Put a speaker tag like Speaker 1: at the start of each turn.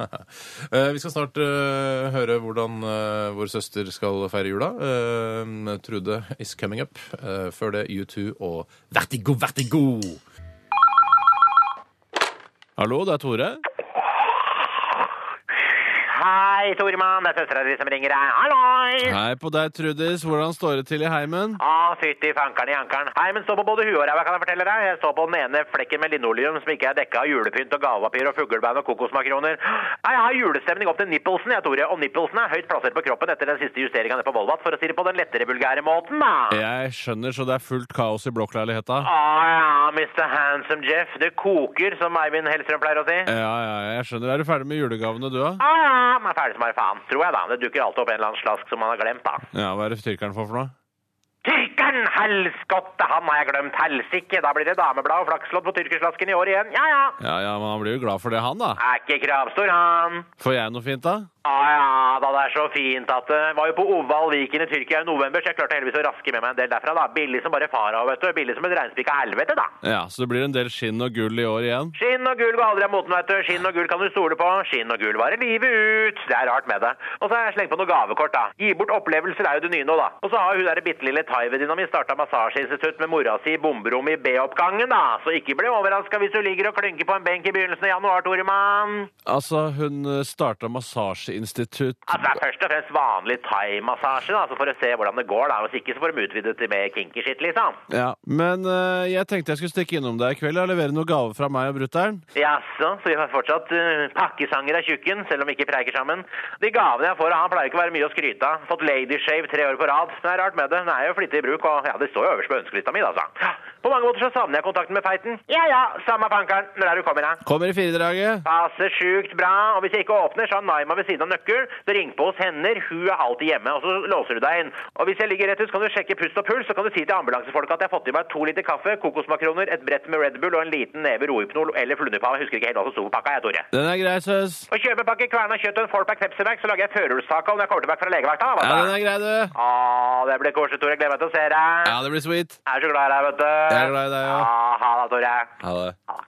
Speaker 1: Eh, Vi skal snart eh, høre hvordan eh, vår søster skal feire jula. Eh, Trude is coming up. Eh, før det U2 og Vertigo, Vertigo!
Speaker 2: Hallo, det er Tore.
Speaker 3: Hei, Toremann. Det er søstera di som ringer deg. Halloi!
Speaker 2: Hei på deg, Trudis. Hvordan står det til i heimen?
Speaker 3: Å, fytti fankeren i ankeren. Hei, men stå på både huet og ræva, kan jeg fortelle deg. Jeg står på den ene flekken med linoleum som ikke er dekka av julepynt og gavepapir og fuglebein og kokosmakroner. Nei, Jeg har julestemning opp til nippelsen, jeg, Tore. Og nippelsen er høyt plassert på kroppen etter den siste justeringa nede på Volvat, for å si det på den lettere vulgære måten, da.
Speaker 2: Jeg skjønner, så det er fullt kaos i blokkleiligheta.
Speaker 3: Å ja, Mr. Handsome Jeff. Det koker, som Eivind Hellstrøm pleier å si.
Speaker 2: Ja, ja, jeg skjønner. Er du ferdig med julegavene, du, da?
Speaker 3: Å ja, man er ferdig som bare faen, tror jeg, da. Det dukker alltid opp en eller annen slask som man har glemt, da.
Speaker 2: Ja, hva er det tyrkeren får for noe?
Speaker 3: Tyrkeren! Helskotte, han har jeg glemt. Helsike, da blir det dameblad og flakslodd på tyrkerslasken i år igjen. Ja, ja.
Speaker 2: Ja, ja, men han blir jo glad for det, han, da.
Speaker 3: Er ikke kravstor, han.
Speaker 2: Får jeg noe fint, da?
Speaker 3: Å ja, da det er så fint at det var jo på Oval Viken i Tyrkia i november, så jeg klarte heldigvis å raske med meg en del derfra, da. Billig som bare fara, vet du. Billig som et regnspikka helvete, da.
Speaker 2: Ja, så det blir en del skinn og gull i år igjen.
Speaker 3: Skinn og gull går aldri av moten, vet du. Skinn og gull kan du stole på. Skinn og gull varer livet ut. Det er rart med det. Og så har jeg slengt på noen gavekort, da. Gi bort opplevelser er jo det nye nå, da. Og så har hun der bitte lille thaivenninna mi starta massasjeinstitutt med mora si i bomberommet i B-oppgangen, da. Så ikke bli overraska hvis du ligger og klynker på en benk i begynnelsen av januar, Toremann.
Speaker 2: Altså, hun starta massasjeinstitutt
Speaker 3: Altså, det er først og fremst vanlig thaimassasje, da, så for å se hvordan det går, da. Hvis ikke så får de utvidet til mer kinky shit, liksom.
Speaker 2: Ja, Men eh, jeg tenkte jeg skulle stikke innom deg i kveld og levere noen gaver fra meg og brutter'n.
Speaker 3: Jaså, så vi har fortsatt eh, pakkesanger av tjukken, selv om vi ikke preiker sammen. De gavene jeg får av han, pleier ikke å være mye å skryte av. Fått ladyshave tre år på rad. Det er rart med det. Den er jo flittig i bruk, og ja, det står jo øverst på ønskelista mi, da, altså. På mange måter så savner jeg kontakten med feiten. Ja ja, samme pankeren. Når er du kommer, da?
Speaker 2: Kommer i firedraget.
Speaker 3: Passer sjukt bra. Og hvis jeg ikke åpner, så har Naima ved siden av nøkkel. Så ring på hos hender. Hun er alltid hjemme. Og så låser du deg inn. Og hvis jeg ligger rett ut, så kan du sjekke pust og puls. Så kan du si til ambulansefolket at jeg har fått i meg to liter kaffe, kokosmakroner, et brett med Red Bull og en liten neve rohypnol eller flunderpave. Husker ikke helt hva som sto på pakka, jeg, Tore.
Speaker 2: Den er grei, søs.
Speaker 3: Og kjøpepakke kverna kjøtt og en fourpack Pepsi Max, så lager jeg førjulstaco når jeg kommer tilbake fra legevakta. hva
Speaker 2: Ja,
Speaker 3: da?
Speaker 2: den er grei, du.
Speaker 3: Å, det blir koselig, Tore. Gleder meg til å se deg.
Speaker 2: Ja, det blir sweet.
Speaker 3: Jeg er så glad i deg, vet du.
Speaker 2: Jeg er glad i deg, ja.
Speaker 3: Ja, Ha det, Tore.
Speaker 2: Ha det.
Speaker 3: Ha det.